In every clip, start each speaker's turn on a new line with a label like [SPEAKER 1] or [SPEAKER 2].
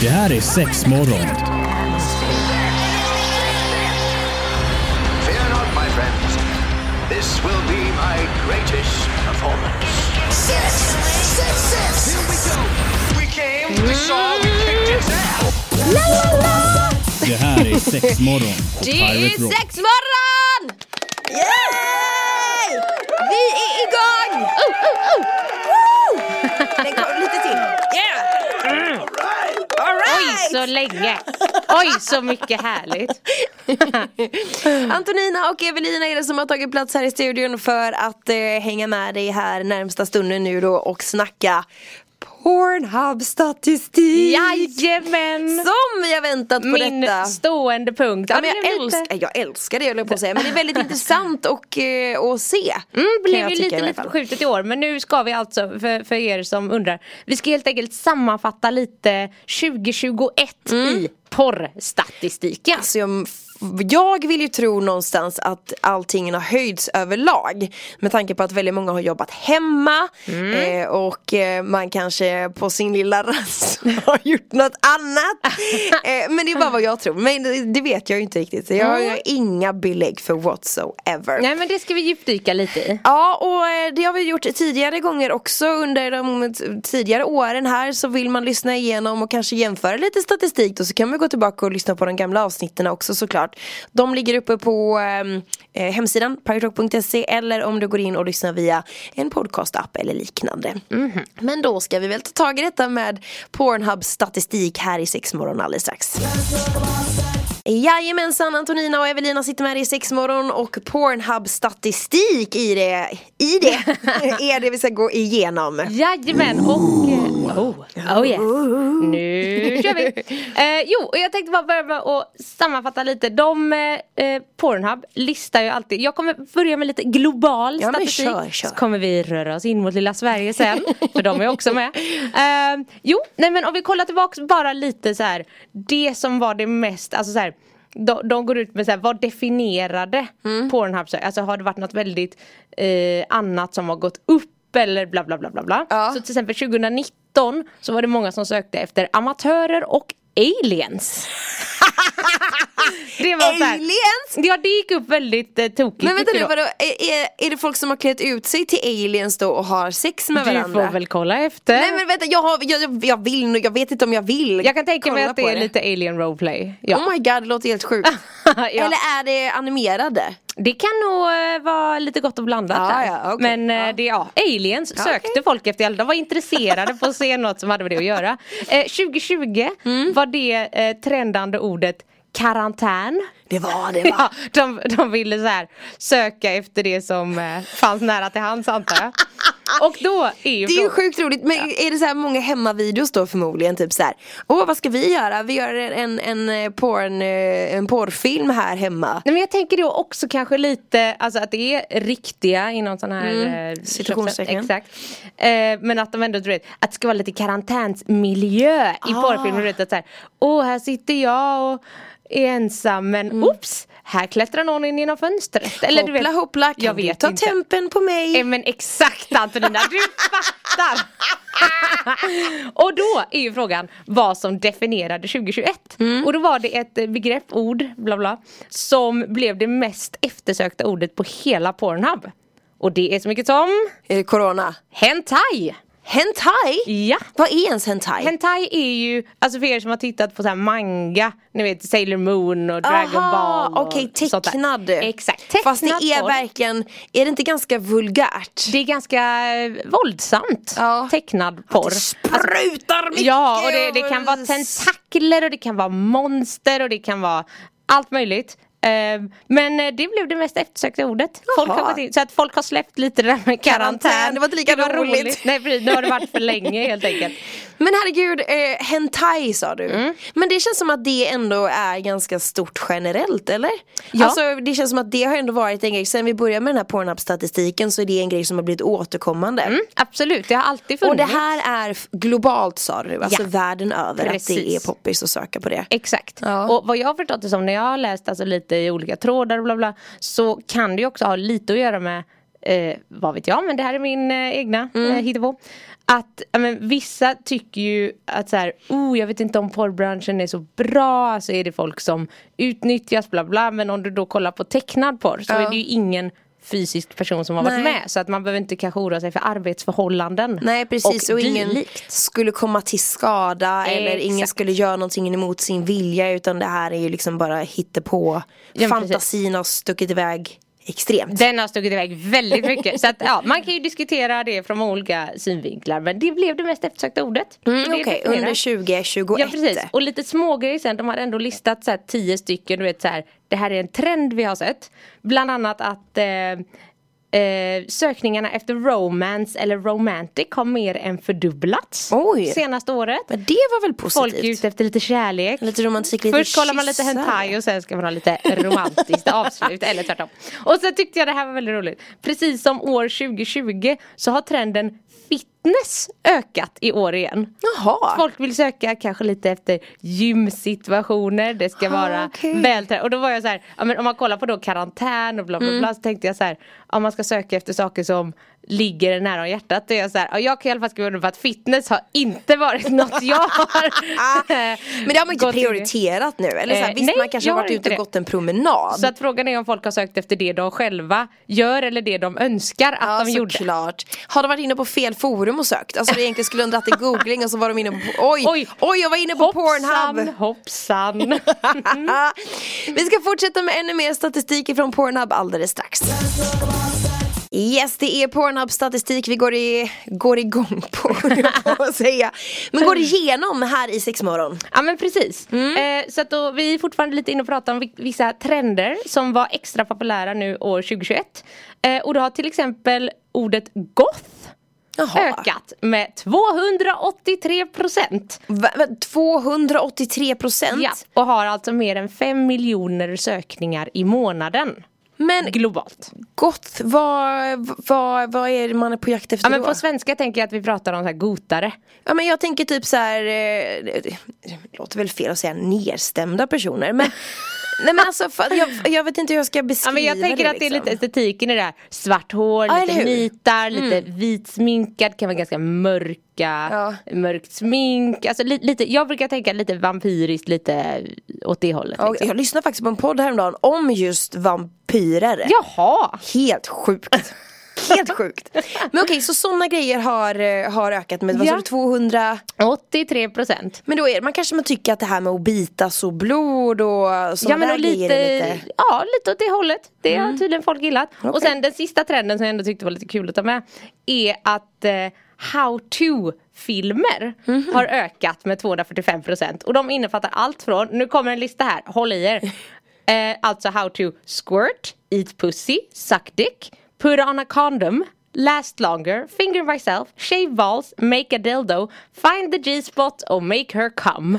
[SPEAKER 1] Det här är sex morgon.
[SPEAKER 2] Fear not, my friends. This will be my greatest performance.
[SPEAKER 3] Six, six, six.
[SPEAKER 2] We came, we saw, we kicked his ass.
[SPEAKER 1] Det här är sex morgon på
[SPEAKER 4] Det är
[SPEAKER 1] Pirate Rock.
[SPEAKER 4] sexmorgon!
[SPEAKER 3] Yay! Vi är igång! Woo! Den kom lite till. Yeah! All
[SPEAKER 4] Oj
[SPEAKER 3] right!
[SPEAKER 4] så länge! Oj så mycket härligt!
[SPEAKER 3] Antonina och Evelina är det som har tagit plats här i studion för att eh, hänga med dig här närmsta stunden nu då och snacka Pornhub-statistik!
[SPEAKER 4] Jajamän!
[SPEAKER 3] Som vi har väntat på
[SPEAKER 4] Min
[SPEAKER 3] detta!
[SPEAKER 4] stående punkt.
[SPEAKER 3] Ja, men
[SPEAKER 4] det
[SPEAKER 3] jag,
[SPEAKER 4] blev lite-
[SPEAKER 3] älskar, jag älskar det höll jag på att säga, men det är väldigt intressant och, eh, att se.
[SPEAKER 4] Mm,
[SPEAKER 3] kan
[SPEAKER 4] blev
[SPEAKER 3] jag
[SPEAKER 4] ju
[SPEAKER 3] tycka i
[SPEAKER 4] lite,
[SPEAKER 3] alla
[SPEAKER 4] lite
[SPEAKER 3] fall.
[SPEAKER 4] förskjutet i år men nu ska vi alltså för, för er som undrar Vi ska helt enkelt sammanfatta lite 2021 i porrstatistiken
[SPEAKER 3] Alltså jag, jag vill ju tro någonstans att allting har höjts överlag Med tanke på att väldigt många har jobbat hemma eh, Och eh, man kanske på sin lilla rast har gjort något annat eh, Men det är bara vad jag tror, men det, det vet jag ju inte riktigt Jag har ju inga belägg för whatsoever
[SPEAKER 4] Nej men det ska vi djupdyka lite i
[SPEAKER 3] Ja och eh, det har vi gjort tidigare gånger också under de t- tidigare åren här så vill man lyssna igenom och kanske jämföra lite statistik då så kan man gå tillbaka och lyssna på de gamla avsnitten också såklart. De ligger uppe på ehm, eh, hemsidan piraterock.se eller om du går in och lyssnar via en podcastapp eller liknande. Men då ska vi väl ta tag i detta med Pornhub statistik här i Sexmorgon alldeles strax. Jajamensan, Antonina och Evelina sitter med dig i sexmorgon och Pornhub-statistik i det, i det är det vi ska gå igenom.
[SPEAKER 4] Jajamän och... eh, Oh, oh yes. Nu kör vi! Eh, jo, och jag tänkte bara börja med att sammanfatta lite. De, eh, eh, Pornhub listar ju alltid. Jag kommer börja med lite global
[SPEAKER 3] Ja, men
[SPEAKER 4] statistik.
[SPEAKER 3] kör, kör.
[SPEAKER 4] Så kommer vi röra oss in mot lilla Sverige sen. för de är också med. Eh, jo, nej men om vi kollar tillbaks bara lite så här. Det som var det mest, alltså så här. De, de går ut med så här, vad definierade
[SPEAKER 3] Mm.
[SPEAKER 4] Pornhub? så här? Alltså har det varit något väldigt eh, annat som har gått upp eller bla bla bla bla bla.
[SPEAKER 3] Ja.
[SPEAKER 4] Så till exempel 2019 så var det många som sökte efter amatörer och aliens. det var så här,
[SPEAKER 3] Aliens!
[SPEAKER 4] Ja det gick upp väldigt eh, tokigt.
[SPEAKER 3] Men vänta nu,
[SPEAKER 4] tycker
[SPEAKER 3] vadå, är, är, är det folk som har klätt ut sig till aliens då och har sex med
[SPEAKER 4] jag. Du
[SPEAKER 3] varandra?
[SPEAKER 4] får väl kolla efter.
[SPEAKER 3] Nej men vänta, jag, har, jag, jag, jag vill nog, jag vet inte om jag vill
[SPEAKER 4] jag kan tänka mig
[SPEAKER 3] kolla
[SPEAKER 4] att det
[SPEAKER 3] på
[SPEAKER 4] är lite alien roleplay. Ja.
[SPEAKER 3] Oh my god, det låter helt sjukt.
[SPEAKER 4] Ja.
[SPEAKER 3] Mm. Eller är det animerade?
[SPEAKER 4] Det kan nog eh, vara lite gott och blandat
[SPEAKER 3] Ja,
[SPEAKER 4] där.
[SPEAKER 3] ja, okej.
[SPEAKER 4] Men eh,
[SPEAKER 3] Ja.
[SPEAKER 4] Det, ja, aliens sökte folk efter, de var intresserade på att se något som hade med det att göra. Eh, 2020
[SPEAKER 3] Mm.
[SPEAKER 4] var det eh, trendande ordet karantän.
[SPEAKER 3] Det var det va?
[SPEAKER 4] Ja, de, de ville så här, söka efter det som eh, fanns nära till hands antar jag. Och då är ju
[SPEAKER 3] Det är ju
[SPEAKER 4] frågan-
[SPEAKER 3] sjukt roligt, men är det så här många hemmavideos då förmodligen? Typ så här, åh vad ska vi göra? Vi gör en, en, eh, porn, eh, en porrfilm här hemma.
[SPEAKER 4] Nej men jag tänker då också kanske lite, alltså att det är riktiga inom sån här
[SPEAKER 3] Mm,
[SPEAKER 4] eh,
[SPEAKER 3] citationstecken.
[SPEAKER 4] Exakt. Eh, men att de ändå, du vet, att det ska vara lite karantänsmiljö i
[SPEAKER 3] Ah.
[SPEAKER 4] porrfilmer. Du vet att så här, åh här sitter jag och är ensam men oops, här klättrar någon in genom fönstret. Eller
[SPEAKER 3] Mm. hoppla hoppla, kan
[SPEAKER 4] jag
[SPEAKER 3] du
[SPEAKER 4] vet
[SPEAKER 3] ta
[SPEAKER 4] inte.
[SPEAKER 3] tempen på mig?
[SPEAKER 4] Eh, men exakt Antonina, du fattar! och då är ju frågan vad som definierade 2021.
[SPEAKER 3] Mm.
[SPEAKER 4] Och då var det ett eh, begrepp, ord, bla bla, som blev det mest eftersökta ordet på hela Pornhub. Och det är så mycket som
[SPEAKER 3] Eh, corona.
[SPEAKER 4] hentai!
[SPEAKER 3] Hentai?
[SPEAKER 4] Ja!
[SPEAKER 3] Vad är ens hentai?
[SPEAKER 4] Hentai är ju, alltså för er som har tittat på så här manga, ni vet Sailor Moon och Dragon
[SPEAKER 3] Aha,
[SPEAKER 4] Ball och
[SPEAKER 3] okej
[SPEAKER 4] sånt där.
[SPEAKER 3] tecknad.
[SPEAKER 4] Exakt, tecknad
[SPEAKER 3] Fast det är
[SPEAKER 4] porr.
[SPEAKER 3] verkligen, är det inte ganska vulgärt?
[SPEAKER 4] Det är ganska eh, våldsamt
[SPEAKER 3] Ja.
[SPEAKER 4] tecknad porr.
[SPEAKER 3] Det sprutar Alltså, mycket!
[SPEAKER 4] Ja, och det, det kan vara tentakler och det kan vara monster och det kan vara allt möjligt. Eh, Men eh, det blev det mest eftersökta ordet. Folk har
[SPEAKER 3] Jaha.
[SPEAKER 4] gått in, så att folk har släppt lite det där med karantän.
[SPEAKER 3] Karantän, det var inte lika
[SPEAKER 4] var
[SPEAKER 3] roligt.
[SPEAKER 4] Nej precis, nu har det varit för länge helt enkelt.
[SPEAKER 3] Men herregud, eh, hentai sa du.
[SPEAKER 4] Mm.
[SPEAKER 3] Men det känns som att det ändå är ganska stort generellt eller?
[SPEAKER 4] Ja.
[SPEAKER 3] Alltså det känns som att det har ändå varit en grej, sen vi började med den här Pornhub-statistiken så är det en grej som har blivit återkommande.
[SPEAKER 4] Mm, absolut, det har alltid funnits.
[SPEAKER 3] Och det här är f- globalt sa du, alltså
[SPEAKER 4] Ja.
[SPEAKER 3] världen över att det
[SPEAKER 4] Precis.
[SPEAKER 3] är poppis att söka på det.
[SPEAKER 4] Exakt.
[SPEAKER 3] Ja.
[SPEAKER 4] Och vad jag har förstått det som när jag har läst alltså, lite i olika trådar och bla bla så kan det ju också ha lite att göra med eh, vad vet jag, men det här är min eh, egna eh,
[SPEAKER 3] Mm.
[SPEAKER 4] hittepå. Att ja, men, vissa tycker ju att så här, oh, jag vet inte om porrbranschen är så bra, så är det folk som utnyttjas, bla bla. Men om du då kollar på tecknad porr så
[SPEAKER 3] Ja.
[SPEAKER 4] är det ju ingen fysisk person som har varit
[SPEAKER 3] Nej.
[SPEAKER 4] med. Så att man behöver inte kanske oroa sig för arbetsförhållanden.
[SPEAKER 3] Nej precis och, ingen
[SPEAKER 4] dylikt.
[SPEAKER 3] skulle komma till skada eller ingen
[SPEAKER 4] Exakt.
[SPEAKER 3] skulle göra någonting emot sin vilja utan det här är ju liksom bara hittepå
[SPEAKER 4] Ja, men
[SPEAKER 3] Fantasin har stuckit iväg extremt
[SPEAKER 4] Den har stuckit iväg väldigt mycket. så att, ja, man kan ju diskutera det från olika synvinklar. Men det blev det mest eftersökta ordet.
[SPEAKER 3] mm,
[SPEAKER 4] Det
[SPEAKER 3] Okej,
[SPEAKER 4] definierar.
[SPEAKER 3] under 2021
[SPEAKER 4] Ja precis, och lite smågrejer sen, de hade ändå listat så här, tio stycken, du vet så här, det här är en trend vi har sett. Bland annat att eh, eh, sökningarna efter romance eller romantic har mer än fördubblats
[SPEAKER 3] Oj.
[SPEAKER 4] senaste året.
[SPEAKER 3] Men det var väl
[SPEAKER 4] Folk
[SPEAKER 3] positivt?
[SPEAKER 4] är ute efter lite kärlek.
[SPEAKER 3] Lite romantik, lite
[SPEAKER 4] Först kollar man lite
[SPEAKER 3] kyssar.
[SPEAKER 4] hentai och sen ska man ha lite romantiskt avslut eller tvärtom. Och sen tyckte jag det här var väldigt roligt. Precis som år 2020 så har trenden fitness ökat i år igen.
[SPEAKER 3] Jaha,
[SPEAKER 4] Folk vill söka kanske lite efter gymsituationer, det ska
[SPEAKER 3] Ah,
[SPEAKER 4] vara
[SPEAKER 3] okej.
[SPEAKER 4] vältränat. Och då var jag så här, ja, men om man kollar på då karantän och bla bla
[SPEAKER 3] Mm.
[SPEAKER 4] bla så tänkte jag så här, om man ska söka efter saker som ligger nära om hjärtat. Då är jag så här, ja, jag kan i alla fall skriva under på att fitness har inte varit något jag har
[SPEAKER 3] Ah, men det har man inte
[SPEAKER 4] gått in i.
[SPEAKER 3] prioriterat nu eller så här,
[SPEAKER 4] Eh,
[SPEAKER 3] Visst
[SPEAKER 4] nej,
[SPEAKER 3] man kanske
[SPEAKER 4] jag
[SPEAKER 3] har
[SPEAKER 4] har
[SPEAKER 3] varit
[SPEAKER 4] inte
[SPEAKER 3] ute och
[SPEAKER 4] det.
[SPEAKER 3] gått en promenad
[SPEAKER 4] Så att frågan är om folk har sökt efter det de själva gör eller det de önskar att
[SPEAKER 3] Ja
[SPEAKER 4] de gjorde.
[SPEAKER 3] såklart. Har de varit inne på fel forum och sökt? Alltså det egentligen skulle de dragit en googling och så var de inne på Oj, oj,
[SPEAKER 4] Oj.
[SPEAKER 3] jag var inne på
[SPEAKER 4] Hoppsan,
[SPEAKER 3] Pornhub
[SPEAKER 4] hoppsan.
[SPEAKER 3] Vi ska fortsätta med ännu mer statistik från Pornhub alldeles strax. Yes, det är Pornhub-statistik vi går, i, går igång på, höll jag på att säga. Men går igenom här i Sexmorgon.
[SPEAKER 4] Ja men precis.
[SPEAKER 3] Mm.
[SPEAKER 4] Eh, så att då, vi är fortfarande lite inne och pratar om vi- vissa trender som var extra populära nu år 2021. Eh, och då har till exempel ordet goth
[SPEAKER 3] Jaha.
[SPEAKER 4] ökat med 283 procent.
[SPEAKER 3] Va- va- 283 procent.
[SPEAKER 4] Ja, och har alltså mer än 5 miljoner sökningar i månaden.
[SPEAKER 3] Men
[SPEAKER 4] Globalt.
[SPEAKER 3] gott, vad, vad, vad är det man är på jakt efter
[SPEAKER 4] Ja, men
[SPEAKER 3] då?
[SPEAKER 4] på svenska tänker jag att vi pratar om så här gotare.
[SPEAKER 3] Ja men jag tänker typ så här, eh, det det låter väl fel att säga nerstämda personer men Nej men alltså fan, jag, jag vet inte hur jag ska
[SPEAKER 4] Ja,
[SPEAKER 3] beskriva
[SPEAKER 4] men jag tänker
[SPEAKER 3] det,
[SPEAKER 4] att det är
[SPEAKER 3] liksom.
[SPEAKER 4] lite estetiken i det här. Svart hår,
[SPEAKER 3] Ja, eller
[SPEAKER 4] lite
[SPEAKER 3] hur? Mm.
[SPEAKER 4] nitar, lite vitsminkad, kan vara ganska mörka,
[SPEAKER 3] Ja.
[SPEAKER 4] mörkt smink. Alltså, li, lite, jag brukar tänka lite vampyriskt, lite åt det hållet.
[SPEAKER 3] Ja, och
[SPEAKER 4] Liksom.
[SPEAKER 3] Jag lyssnade faktiskt på en podd häromdagen om just vampyrer
[SPEAKER 4] Jaha!
[SPEAKER 3] Helt sjukt Helt sjukt Men okej så sådana grejer har, eh, har ökat med vad sa
[SPEAKER 4] Ja.
[SPEAKER 3] du, 200
[SPEAKER 4] 83 procent.
[SPEAKER 3] Men då är det, man kanske man tycker att det här med att bita så blod och sådana
[SPEAKER 4] Ja men
[SPEAKER 3] där
[SPEAKER 4] och
[SPEAKER 3] grejer är
[SPEAKER 4] lite,
[SPEAKER 3] lite
[SPEAKER 4] ja, lite åt det hållet. Det har tydligen folk gillat. Och
[SPEAKER 3] Okej.
[SPEAKER 4] sen den sista trenden som jag ändå tyckte var lite kul att ta med. Är att eh, how to filmer har ökat med 245% och de innefattar allt från, nu kommer en lista här, håll i er. Eh, alltså how to squirt, eat pussy, suck dick, put on a condom, last longer, finger myself, shave balls, make a dildo, find the G-spot och make her come.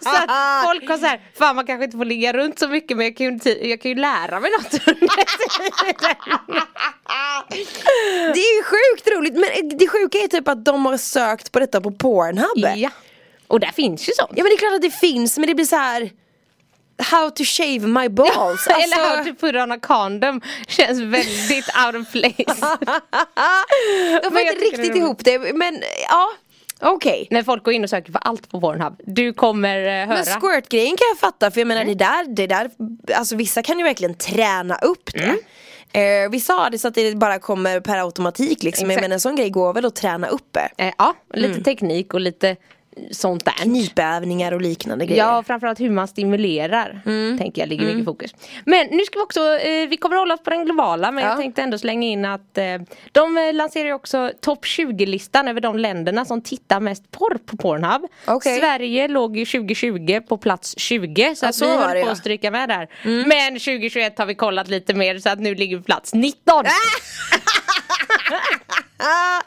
[SPEAKER 4] Så att folk har så här, fan man kanske inte får ligga runt så mycket men jag kan ju, inte- jag kan ju lära mig något
[SPEAKER 3] Det är ju sjukt roligt men det sjuka är typ att de har sökt på detta på Pornhub
[SPEAKER 4] Ja, och där finns ju sånt.
[SPEAKER 3] Ja men det är klart att det finns men det blir så här How to shave my balls alltså,
[SPEAKER 4] Eller how to put on a condom känns väldigt out of place.
[SPEAKER 3] Jag får
[SPEAKER 4] Men jag
[SPEAKER 3] inte
[SPEAKER 4] tycker det är
[SPEAKER 3] riktigt
[SPEAKER 4] roligt.
[SPEAKER 3] ihop det men ja Okej
[SPEAKER 4] När folk går in och söker på allt på Pornhub, du kommer eh, höra. Mm.
[SPEAKER 3] Men squirt-grejen kan jag fatta för jag menar det där, det där Alltså vissa kan ju verkligen träna upp det
[SPEAKER 4] Mm.
[SPEAKER 3] Eh, vissa har det så att det bara kommer per automatik liksom
[SPEAKER 4] Exakt.
[SPEAKER 3] Jag menar en sån grej går väl att träna upp det.
[SPEAKER 4] eh, ja, lite teknik och lite sånt där.
[SPEAKER 3] Knipövningar och liknande grejer
[SPEAKER 4] Ja, och framförallt hur man stimulerar
[SPEAKER 3] Mm.
[SPEAKER 4] tänker jag ligger mycket fokus. Men nu ska vi också, eh, vi kommer hålla oss på den globala men
[SPEAKER 3] Ja.
[SPEAKER 4] jag tänkte ändå slänga in att eh, de eh, lanserar ju också topp 20-listan över de länderna som tittar mest porr på Pornhub.
[SPEAKER 3] Okej.
[SPEAKER 4] Sverige låg ju 2020 på plats 20 så,
[SPEAKER 3] Ja,
[SPEAKER 4] att
[SPEAKER 3] så
[SPEAKER 4] vi
[SPEAKER 3] var det,
[SPEAKER 4] höll på
[SPEAKER 3] ja. Mm.
[SPEAKER 4] att stryka med där. Men 2021 har vi kollat lite mer så att nu ligger vi på plats 19.
[SPEAKER 3] ah,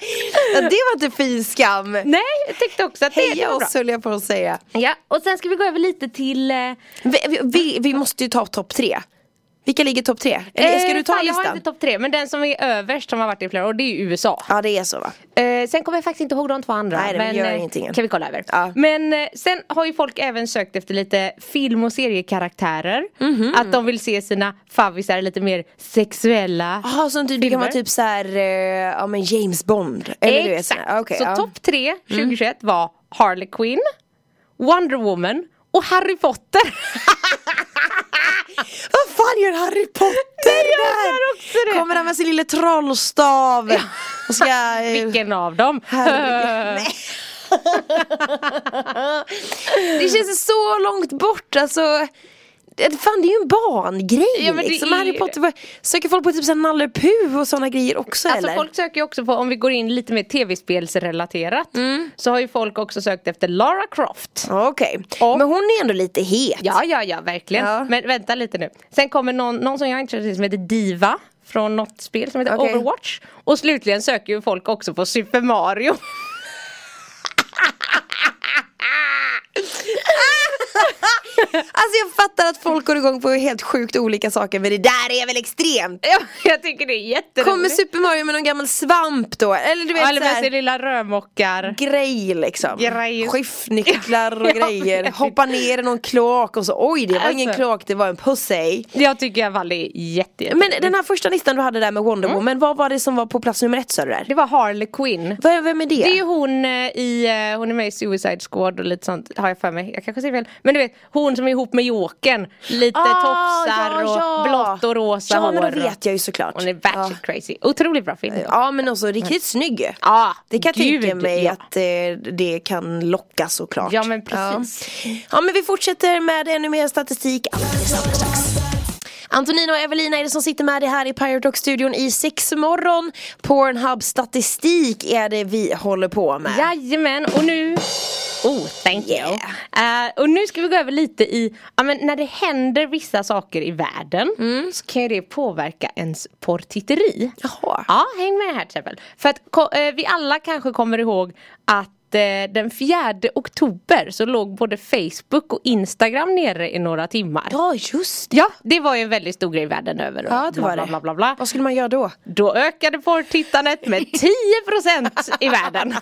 [SPEAKER 3] ja, Det var inte fin skam
[SPEAKER 4] Nej, jag tyckte också att det
[SPEAKER 3] Heja
[SPEAKER 4] var bra.
[SPEAKER 3] oss höll jag på att säga
[SPEAKER 4] Ja, och sen ska vi gå över lite till eh,
[SPEAKER 3] Vi, vi, vi, vi måste ju ta topp tre Vilka ligger topp tre? Eller ska
[SPEAKER 4] Eh,
[SPEAKER 3] du ta
[SPEAKER 4] fan, Jag har
[SPEAKER 3] listan?
[SPEAKER 4] inte topp tre, men den som är överst som har varit i flera år det är ju USA.
[SPEAKER 3] Ja det är så va?
[SPEAKER 4] Eh, sen kommer jag faktiskt inte ihåg de två andra.
[SPEAKER 3] Nej, det gör
[SPEAKER 4] eh,
[SPEAKER 3] ingenting.
[SPEAKER 4] Kan vi kolla över.
[SPEAKER 3] Ja.
[SPEAKER 4] Men eh, sen har ju folk även sökt efter lite film och seriekaraktärer.
[SPEAKER 3] Mhm.
[SPEAKER 4] Att de vill se sina favvisar lite mer sexuella.
[SPEAKER 3] Jaha, som typ, det kan
[SPEAKER 4] Filmer.
[SPEAKER 3] vara typ såhär, eh, ja men James Bond. Eller du vet,
[SPEAKER 4] Exakt.
[SPEAKER 3] såna- okej,
[SPEAKER 4] så
[SPEAKER 3] ja. Mm.
[SPEAKER 4] topp tre 2021 var Harley Quinn, Wonder Woman och Harry Potter.
[SPEAKER 3] Vad fan gör Harry Potter
[SPEAKER 4] Det gör han också det.
[SPEAKER 3] Kommer han med sin lilla trollstav och ska... eh,
[SPEAKER 4] Vilken av dem?
[SPEAKER 3] herregud. Nej. det känns så långt bort alltså det- Fan det är ju en barngrej
[SPEAKER 4] Ja, men det
[SPEAKER 3] liksom.
[SPEAKER 4] är
[SPEAKER 3] Harry
[SPEAKER 4] ju
[SPEAKER 3] Potter, vad- söker folk på typ såhär Nalle Puh och sådana grejer också
[SPEAKER 4] Alltså
[SPEAKER 3] eller?
[SPEAKER 4] folk söker ju också på, om vi går in lite mer tv-spelsrelaterat
[SPEAKER 3] Mm.
[SPEAKER 4] Så har ju folk också sökt efter Lara Croft
[SPEAKER 3] Okej,
[SPEAKER 4] Och-
[SPEAKER 3] men hon är ändå lite het
[SPEAKER 4] Ja, ja, ja, verkligen
[SPEAKER 3] Ja.
[SPEAKER 4] Men vänta lite nu Sen kommer någon, någon som jag är intresserad av som heter Diva Från något spel som heter
[SPEAKER 3] Okej.
[SPEAKER 4] Overwatch Och slutligen söker ju folk också på Super Mario
[SPEAKER 3] Alltså jag fattar att folk går igång på helt sjukt olika saker men det där är väl extremt?
[SPEAKER 4] Ja, Jag tycker det är jätteroligt
[SPEAKER 3] Kommer Super Mario med någon gammal svamp då? Eller du vet
[SPEAKER 4] Ja, Eller med
[SPEAKER 3] såhär
[SPEAKER 4] sin lilla rörmokar
[SPEAKER 3] grej liksom
[SPEAKER 4] Grej.
[SPEAKER 3] Skiftnycklar och
[SPEAKER 4] Jag
[SPEAKER 3] grejer,
[SPEAKER 4] vet.
[SPEAKER 3] hoppa ner i någon kloak och så oj det var ingen
[SPEAKER 4] Alltså.
[SPEAKER 3] kloak det var en pussy
[SPEAKER 4] Jag tycker i alla fall det är jätte, jätte
[SPEAKER 3] Men den här första listan du hade där med Wonder
[SPEAKER 4] Mm.
[SPEAKER 3] Woman, vad var det som var på plats nummer ett sa du där?
[SPEAKER 4] Det var Harley Quinn
[SPEAKER 3] Vad- Vem är det?
[SPEAKER 4] Det är ju hon eh, i, eh, hon är med i Suicide Squad och lite sånt har jag för mig. Jag kanske säger fel. Men du vet, hon som är ihop med Jokern. Lite tofsar och blått och rosa
[SPEAKER 3] Ah, ja,
[SPEAKER 4] hår.
[SPEAKER 3] Ja men då vet jag ju såklart
[SPEAKER 4] Hon är batshit
[SPEAKER 3] ja.
[SPEAKER 4] crazy. Otroligt bra film.
[SPEAKER 3] ja men också riktigt snygg
[SPEAKER 4] Ja,
[SPEAKER 3] Det kan jag
[SPEAKER 4] gud,
[SPEAKER 3] tänka mig
[SPEAKER 4] ja.
[SPEAKER 3] att eh, det kan locka såklart
[SPEAKER 4] Ja, men precis.
[SPEAKER 3] Ja. Ja, men vi fortsätter med ännu mer statistik alldeles alldeles strax Antonina och Evelina är det som sitter med dig här i Pirate Rock-studion i sexmorgon Pornhub statistik är det vi håller på med
[SPEAKER 4] Jajamän, och nu Oh, thank you. Eh, och nu ska vi gå över lite i, ja men när det händer vissa saker i världen
[SPEAKER 3] Mm.
[SPEAKER 4] så kan ju det påverka ens porrtitteri.
[SPEAKER 3] Jaha.
[SPEAKER 4] Ja, häng med här till exempel. För att ko- eh, vi alla kanske kommer ihåg att eh, den 4 oktober så låg både Facebook och Instagram nere i några timmar.
[SPEAKER 3] Ja just det
[SPEAKER 4] Ja, det var ju en väldigt stor grej världen över. och
[SPEAKER 3] Ja det
[SPEAKER 4] bla,
[SPEAKER 3] var det
[SPEAKER 4] Bla, bla, bla, bla.
[SPEAKER 3] Vad skulle man göra då?
[SPEAKER 4] Då ökade porrtittandet med 10% i världen.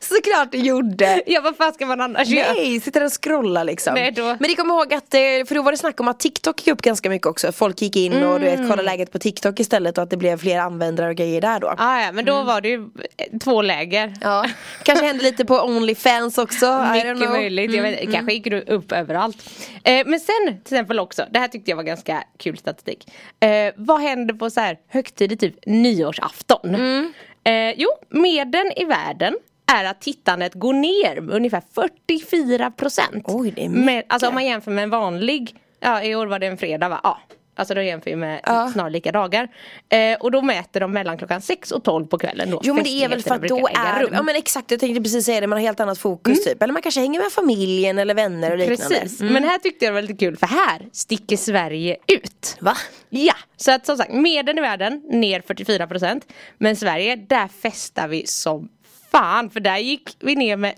[SPEAKER 3] Såklart du gjorde!
[SPEAKER 4] Ja, vad fan ska man annars göra?
[SPEAKER 3] Nej, sitter och scrollar liksom.
[SPEAKER 4] Nej, då-
[SPEAKER 3] Men det kommer ihåg att, eh, för då var det snack om att TikTok gick upp ganska mycket också. Folk gick in och du vet,
[SPEAKER 4] Mm.
[SPEAKER 3] kollade läget på TikTok istället och att det blev fler användare och grejer där då.
[SPEAKER 4] Ah, ja, men då var det ju eh, två läger.
[SPEAKER 3] Mm. Ja, kanske hände lite på Onlyfans också. I don't
[SPEAKER 4] Mycket
[SPEAKER 3] know. Mm,
[SPEAKER 4] möjligt, jag vet, inte, kanske gick du upp överallt. Eh, men sen till exempel också, det här tyckte jag var ganska kul statistik. Eh, vad händer på så här högtider, typ nyårsafton?
[SPEAKER 3] Mm.
[SPEAKER 4] Eh, jo, medlen i världen är att tittandet går ner med ungefär 44 procent.
[SPEAKER 3] Oj, det är
[SPEAKER 4] med,
[SPEAKER 3] mycket.
[SPEAKER 4] Alltså om man jämför med en vanlig, ja i år var det en fredag va? Ja. Alltså då jämför vi med
[SPEAKER 3] Ja.
[SPEAKER 4] snarlika dagar. Eh, och då mäter de mellan klockan 6 och 12 på kvällen då
[SPEAKER 3] Jo men det är väl för att då
[SPEAKER 4] festligheterna brukar
[SPEAKER 3] är
[SPEAKER 4] äga rum. Mm.
[SPEAKER 3] ja men exakt jag tänkte precis säga det, man har helt annat fokus typ. Eller man kanske hänger med familjen eller vänner och liknande. Mm.
[SPEAKER 4] Precis, men här tyckte jag det var lite kul för här sticker Sverige ut.
[SPEAKER 3] Va?
[SPEAKER 4] Ja, så att som sagt medel i världen ner 44% men Sverige där festar vi som fan för där gick vi ner med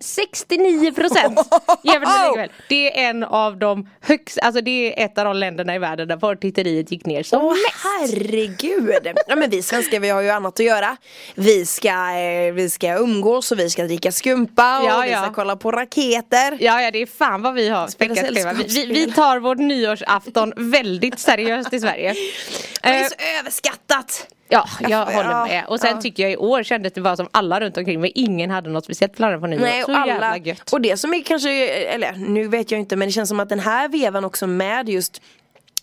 [SPEAKER 4] 69% jämfört med Norge. Det är en av de högsta, alltså det är ett av de länderna i världen där porrtitteriet gick ner som
[SPEAKER 3] Åh
[SPEAKER 4] mest.
[SPEAKER 3] herregud! Ja men vi svenskar vi har ju annat att göra Vi ska, eh, vi ska umgås och vi ska dricka skumpa och
[SPEAKER 4] Ja,
[SPEAKER 3] vi
[SPEAKER 4] ja.
[SPEAKER 3] ska kolla på raketer
[SPEAKER 4] Ja, ja det är fan vad vi har
[SPEAKER 3] Spela
[SPEAKER 4] späckat schema. Vi, vi, vi
[SPEAKER 3] sällskapsspel.
[SPEAKER 4] tar vårt nyårsafton väldigt seriöst i Sverige.
[SPEAKER 3] Det är
[SPEAKER 4] Eh,
[SPEAKER 3] så överskattat!
[SPEAKER 4] Ja, jag
[SPEAKER 3] Ja,
[SPEAKER 4] håller
[SPEAKER 3] ja,
[SPEAKER 4] med. Och sen
[SPEAKER 3] ja.
[SPEAKER 4] tycker jag i år kändes det bara som alla runt omkring mig, ingen hade något speciellt planer på nyår.
[SPEAKER 3] Nej,
[SPEAKER 4] så
[SPEAKER 3] och alla,
[SPEAKER 4] jävla gött.
[SPEAKER 3] och det som är kanske, eller nu vet jag inte men det känns som att den här vevan också med just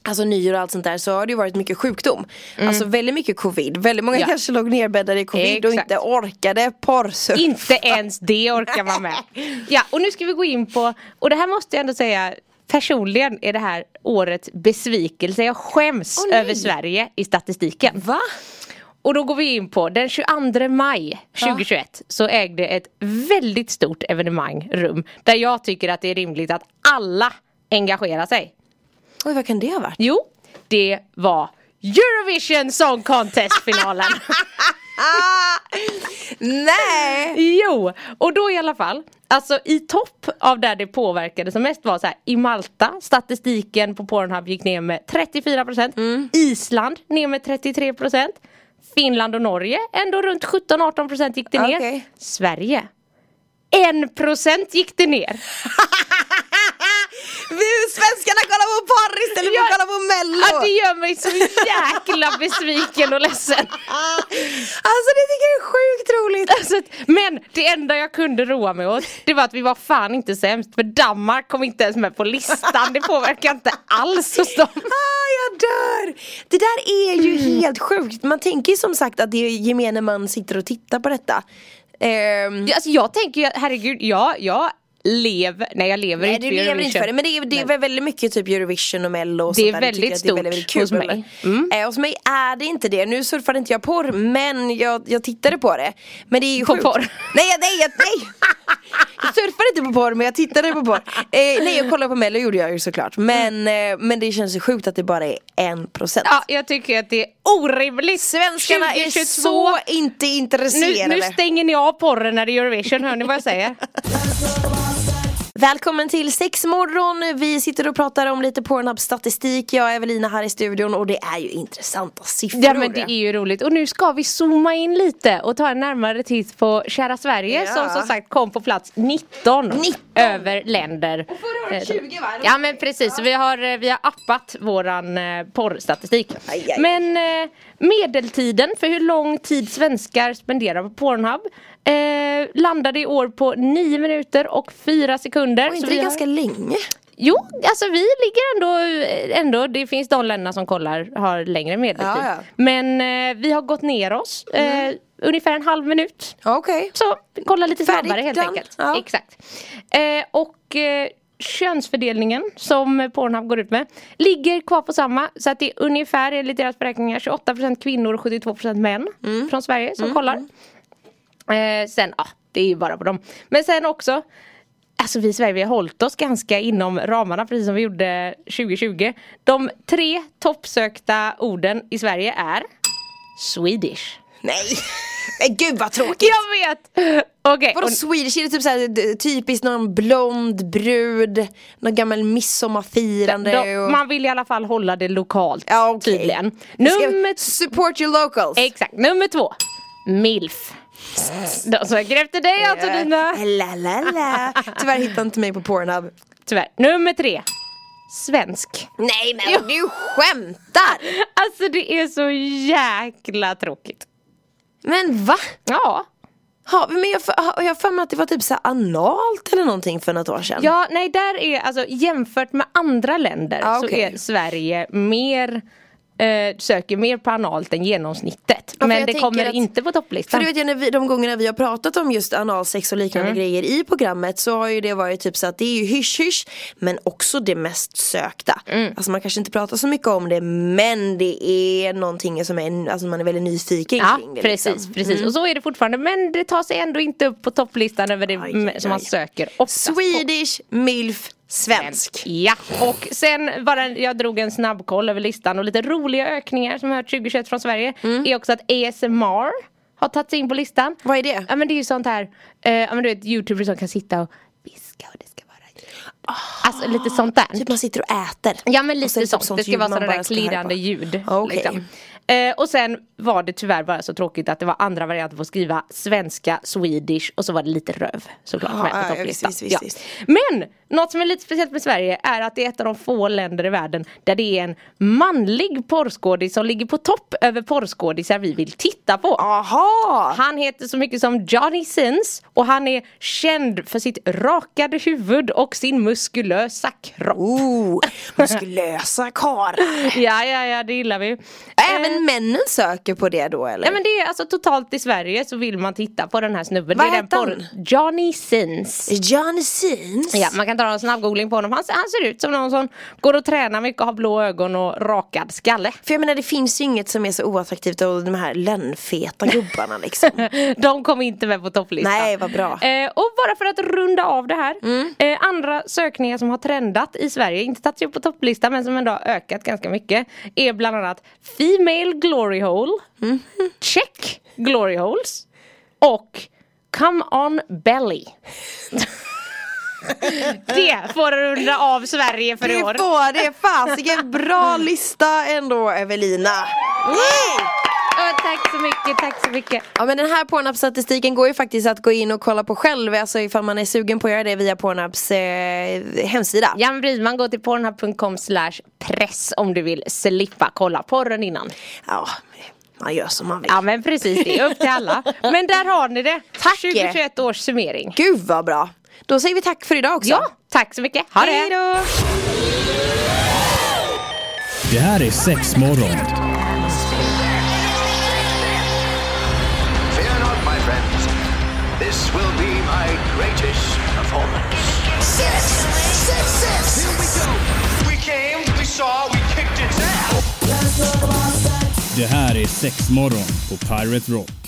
[SPEAKER 3] Alltså nyår och allt sånt där så har det ju varit mycket sjukdom Alltså väldigt mycket covid, väldigt många
[SPEAKER 4] Mm. Ja.
[SPEAKER 3] kanske låg nerbäddade i covid och
[SPEAKER 4] Exakt.
[SPEAKER 3] inte orkade porrsurfa
[SPEAKER 4] Inte ens det orkar man med. Ja, och nu ska vi gå in på, och det här måste jag ändå säga, personligen är det här årets besvikelse. Jag skäms
[SPEAKER 3] Åh, nej.
[SPEAKER 4] över Sverige i statistiken.
[SPEAKER 3] Va?
[SPEAKER 4] Och då går vi in på den 22 maj 2021 så ägde ett väldigt stort evenemang rum där jag tycker att det är rimligt att alla engagerar sig.
[SPEAKER 3] Oj vad kan det ha varit?
[SPEAKER 4] Jo, det var Eurovision Song Contest-finalen.
[SPEAKER 3] Nej!
[SPEAKER 4] jo, och då i alla fall Alltså i topp av där det påverkade som mest var så här, i Malta, statistiken på Pornhub gick ner med 34% Island ner med 33% Finland och Norge ändå runt 17-18% gick det ner
[SPEAKER 3] Okej.
[SPEAKER 4] Sverige 1% gick det ner
[SPEAKER 3] Vi svenskarna kollar på porr istället för att
[SPEAKER 4] Ja.
[SPEAKER 3] kolla på mello!
[SPEAKER 4] Ja, det gör mig så jäkla besviken och ledsen
[SPEAKER 3] Ah, Alltså det tycker jag är sjukt roligt!
[SPEAKER 4] Alltså, att- men det enda jag kunde roa mig åt det var att vi var fan inte sämst för Danmark kom inte ens med på listan. Det påverkar inte alls hos dem.
[SPEAKER 3] Ah, jag dör! Det där är ju
[SPEAKER 4] Mm.
[SPEAKER 3] helt sjukt. Man tänker ju som sagt att det är gemene man sitter och tittar på detta. Ehm,
[SPEAKER 4] Ja, Alltså, jag tänker ju, herregud, ja, jag lever, nej jag lever
[SPEAKER 3] Nej
[SPEAKER 4] inte
[SPEAKER 3] du
[SPEAKER 4] för
[SPEAKER 3] lever inte
[SPEAKER 4] Eurovision.
[SPEAKER 3] för det men det är, det är väl väldigt mycket typ Eurovision och mello och
[SPEAKER 4] Det är
[SPEAKER 3] sånt där.
[SPEAKER 4] väldigt
[SPEAKER 3] tycker jag att det är
[SPEAKER 4] stort hos mig. Mm.
[SPEAKER 3] men- Eh, hos mig är det inte det, nu surfade inte jag porr men jag, jag tittade på det Men det är ju
[SPEAKER 4] På
[SPEAKER 3] sjukt.
[SPEAKER 4] porr.
[SPEAKER 3] Nej, jag- nej, jag, nej! Jag surfade inte på porr men jag tittade på porr eh, Nej jag kollade på mello gjorde jag ju såklart Men, eh, men det känns ju sjukt att det bara är en procent
[SPEAKER 4] Mm. Ja, jag tycker att det är orimligt.
[SPEAKER 3] Svenskarna är
[SPEAKER 4] 2022.
[SPEAKER 3] så inte intresserade
[SPEAKER 4] nu, nu stänger ni av porren när det är Eurovision, hör ni vad jag säger?
[SPEAKER 3] Välkommen till sexmorgon, vi sitter och pratar om lite Pornhub-statistik Jag är Evelina här i studion och det är ju intressanta siffror
[SPEAKER 4] Ja men det är ju roligt och nu ska vi zooma in lite och ta en närmare titt på kära Sverige
[SPEAKER 3] Ja.
[SPEAKER 4] som som sagt kom på plats 19,
[SPEAKER 3] 19.
[SPEAKER 4] över länder. Och
[SPEAKER 3] förra året 20, va?
[SPEAKER 4] Ja men precis, vi, har, eh, vi har appat våran eh, porrstatistik.
[SPEAKER 3] Aj, aj.
[SPEAKER 4] Men eh, medeltiden för hur lång tid svenskar spenderar på Pornhub eh, landade i år på 9 minuter och 4 sekunder.
[SPEAKER 3] Var
[SPEAKER 4] Så
[SPEAKER 3] inte
[SPEAKER 4] vi
[SPEAKER 3] det
[SPEAKER 4] har-
[SPEAKER 3] ganska länge?
[SPEAKER 4] Jo, alltså vi ligger ändå, ändå, det finns de länderna som kollar har längre medeltid.
[SPEAKER 3] Ja, Mm. ja.
[SPEAKER 4] Men eh, vi har gått ner oss eh, ungefär en halv minut.
[SPEAKER 3] Okej
[SPEAKER 4] Så kolla lite
[SPEAKER 3] Färdigt,
[SPEAKER 4] snabbare helt
[SPEAKER 3] done.
[SPEAKER 4] enkelt.
[SPEAKER 3] Ja.
[SPEAKER 4] Exakt. Eh, och eh, könsfördelningen som Pornhub går ut med ligger kvar på samma. Så att det är ungefär enligt deras beräkningar 28% kvinnor och 72% män
[SPEAKER 3] Mm.
[SPEAKER 4] från Sverige som kollar. Eh, sen, ja, det är ju bara på dem. Men sen också Alltså vi i Sverige vi har hållit oss ganska inom ramarna precis som vi gjorde 2020. De tre toppsökta orden i Sverige är Swedish.
[SPEAKER 3] Nej, men gud vad tråkigt!
[SPEAKER 4] Jag vet! Okej.
[SPEAKER 3] Vadå
[SPEAKER 4] och-
[SPEAKER 3] Swedish, är det typ såhär d- typiskt någon blond brud, någon gammal midsommarfirande
[SPEAKER 4] de,
[SPEAKER 3] och...
[SPEAKER 4] man vill i alla fall hålla det lokalt
[SPEAKER 3] Ja, okej.
[SPEAKER 4] tydligen.
[SPEAKER 3] Vi ska
[SPEAKER 4] Nummer,
[SPEAKER 3] Support your locals!
[SPEAKER 4] exakt, nummer två. Milf. De söker efter dig Antonina.
[SPEAKER 3] Eh, La, la, la. Tyvärr hittade inte mig på Pornhub
[SPEAKER 4] Tyvärr. Nummer tre. Svensk.
[SPEAKER 3] Nej men du skämtar!
[SPEAKER 4] Alltså det är så jäkla tråkigt.
[SPEAKER 3] Men va?
[SPEAKER 4] Ja.
[SPEAKER 3] Ha, men jag för- har jag har för mig att det var typ så här analt eller någonting för något år sedan
[SPEAKER 4] Ja, nej där är alltså jämfört med andra länder
[SPEAKER 3] Ja,
[SPEAKER 4] så
[SPEAKER 3] okej.
[SPEAKER 4] är Sverige mer eh, söker mer på analt än genomsnittet.
[SPEAKER 3] för
[SPEAKER 4] Men
[SPEAKER 3] jag
[SPEAKER 4] det
[SPEAKER 3] tänker
[SPEAKER 4] kommer
[SPEAKER 3] att-
[SPEAKER 4] inte
[SPEAKER 3] För
[SPEAKER 4] på topplistan.
[SPEAKER 3] du vet ju när vi, de gångerna vi har pratat om just analsex och liknande
[SPEAKER 4] Mm.
[SPEAKER 3] grejer i programmet så har ju det varit typ så att det är ju hysch hysch men också det mest sökta.
[SPEAKER 4] Mm.
[SPEAKER 3] Alltså man kanske inte pratar så mycket om det men det är någonting som är, alltså man är väldigt nyfiken
[SPEAKER 4] Ja,
[SPEAKER 3] kring det.
[SPEAKER 4] precis,
[SPEAKER 3] Liksom.
[SPEAKER 4] precis. Och så är det fortfarande. Men det tar sig ändå inte upp på topplistan över det
[SPEAKER 3] Aj,
[SPEAKER 4] m-
[SPEAKER 3] aj,
[SPEAKER 4] som man
[SPEAKER 3] aj.
[SPEAKER 4] söker oftast på.
[SPEAKER 3] Swedish, milf, svensk.
[SPEAKER 4] Ja, och sen bara jag drog en snabbkoll över listan och lite roliga ökningar som jag hört 2021 från Sverige är också att ASMR har tagit sig in på listan.
[SPEAKER 3] Mm. Vad är det?
[SPEAKER 4] Ja men det är ju sånt här, eh, ja men du vet youtubers som kan sitta och viska och det ska vara ljud. Alltså lite sånt där.
[SPEAKER 3] Ah, Typ man sitter och äter.
[SPEAKER 4] Ja men
[SPEAKER 3] Och så
[SPEAKER 4] lite
[SPEAKER 3] är det typ
[SPEAKER 4] sånt. det ska
[SPEAKER 3] ljud
[SPEAKER 4] vara
[SPEAKER 3] man
[SPEAKER 4] sådana där
[SPEAKER 3] bara ska höra på. Ah,
[SPEAKER 4] klirrande ljud.
[SPEAKER 3] Okej.
[SPEAKER 4] Liksom. Eh, och sen var det tyvärr bara så tråkigt att det var andra varianter på att skriva svenska, swedish och så var det lite röv såklart
[SPEAKER 3] Ja,
[SPEAKER 4] med
[SPEAKER 3] Ah, ja,
[SPEAKER 4] på topplistan.
[SPEAKER 3] visst, visst, visst.
[SPEAKER 4] Men något som är lite speciellt med Sverige är att det är ett av de få länder i världen där det är en manlig porrskådis som ligger på topp över porrskådisar vi vill titta på.
[SPEAKER 3] Ah. Aha!
[SPEAKER 4] Han heter så mycket som Johnny Sins och han är känd för sitt rakade huvud och sin muskulösa kropp.
[SPEAKER 3] Oh, muskulösa karlar.
[SPEAKER 4] Ja, ja, ja, det gillar vi. Eh,
[SPEAKER 3] Även männen söker på det då eller?
[SPEAKER 4] Nej men det är alltså totalt i Sverige så vill man titta på den här snubben.
[SPEAKER 3] Vad
[SPEAKER 4] det är den
[SPEAKER 3] heter
[SPEAKER 4] porr- Johnny Sins.
[SPEAKER 3] Johnny Sins.
[SPEAKER 4] Ja, man kan ta en snabbgoogling på honom. Han, han ser ut som någon som går och tränar mycket, har blå ögon och rakad skalle.
[SPEAKER 3] För jag menar det finns ju inget som är så oattraktivt av de här lönnfeta gubbarna liksom.
[SPEAKER 4] De kom inte med på topplistan.
[SPEAKER 3] Nej, vad bra. Mm.
[SPEAKER 4] Eh, och bara för att runda av det här. Eh, andra sökningar som har trendat i Sverige, inte tagits upp på topplistan men som ändå har ökat ganska mycket. Är bland annat Female Glory Hole,
[SPEAKER 3] Mm-hmm.
[SPEAKER 4] Check Glory Holes och Come On Belly. Det får du runda av Sverige för i
[SPEAKER 3] Det
[SPEAKER 4] år.
[SPEAKER 3] får det, fasiken bra lista ändå Evelina!
[SPEAKER 4] Ja, Tack så mycket, tack så mycket.
[SPEAKER 3] Ja men den här Pornhub-statistiken går ju faktiskt att gå in och kolla på själv, alltså ifall man är sugen på att göra det via Pornhubs eh, hemsida.
[SPEAKER 4] Jan Bridman, gå till pornhub.com slash press om du vill slippa kolla porren innan.
[SPEAKER 3] Ja, man gör som man vill.
[SPEAKER 4] Ja men precis, det är upp till alla. Men där har ni det.
[SPEAKER 3] Tack.
[SPEAKER 4] 2021 års summering.
[SPEAKER 3] Gud vad bra! Då säger vi tack för idag också.
[SPEAKER 4] Ja, tack så mycket. Ha det!
[SPEAKER 3] Hej då!
[SPEAKER 1] Det här är sex morgon.
[SPEAKER 2] Fear not, my friends. This will be my greatest performance.
[SPEAKER 5] Six, six, six. Here we go.
[SPEAKER 2] We came, we saw, we kicked its ass.
[SPEAKER 1] Det här är sex morgon på Pirate Rock.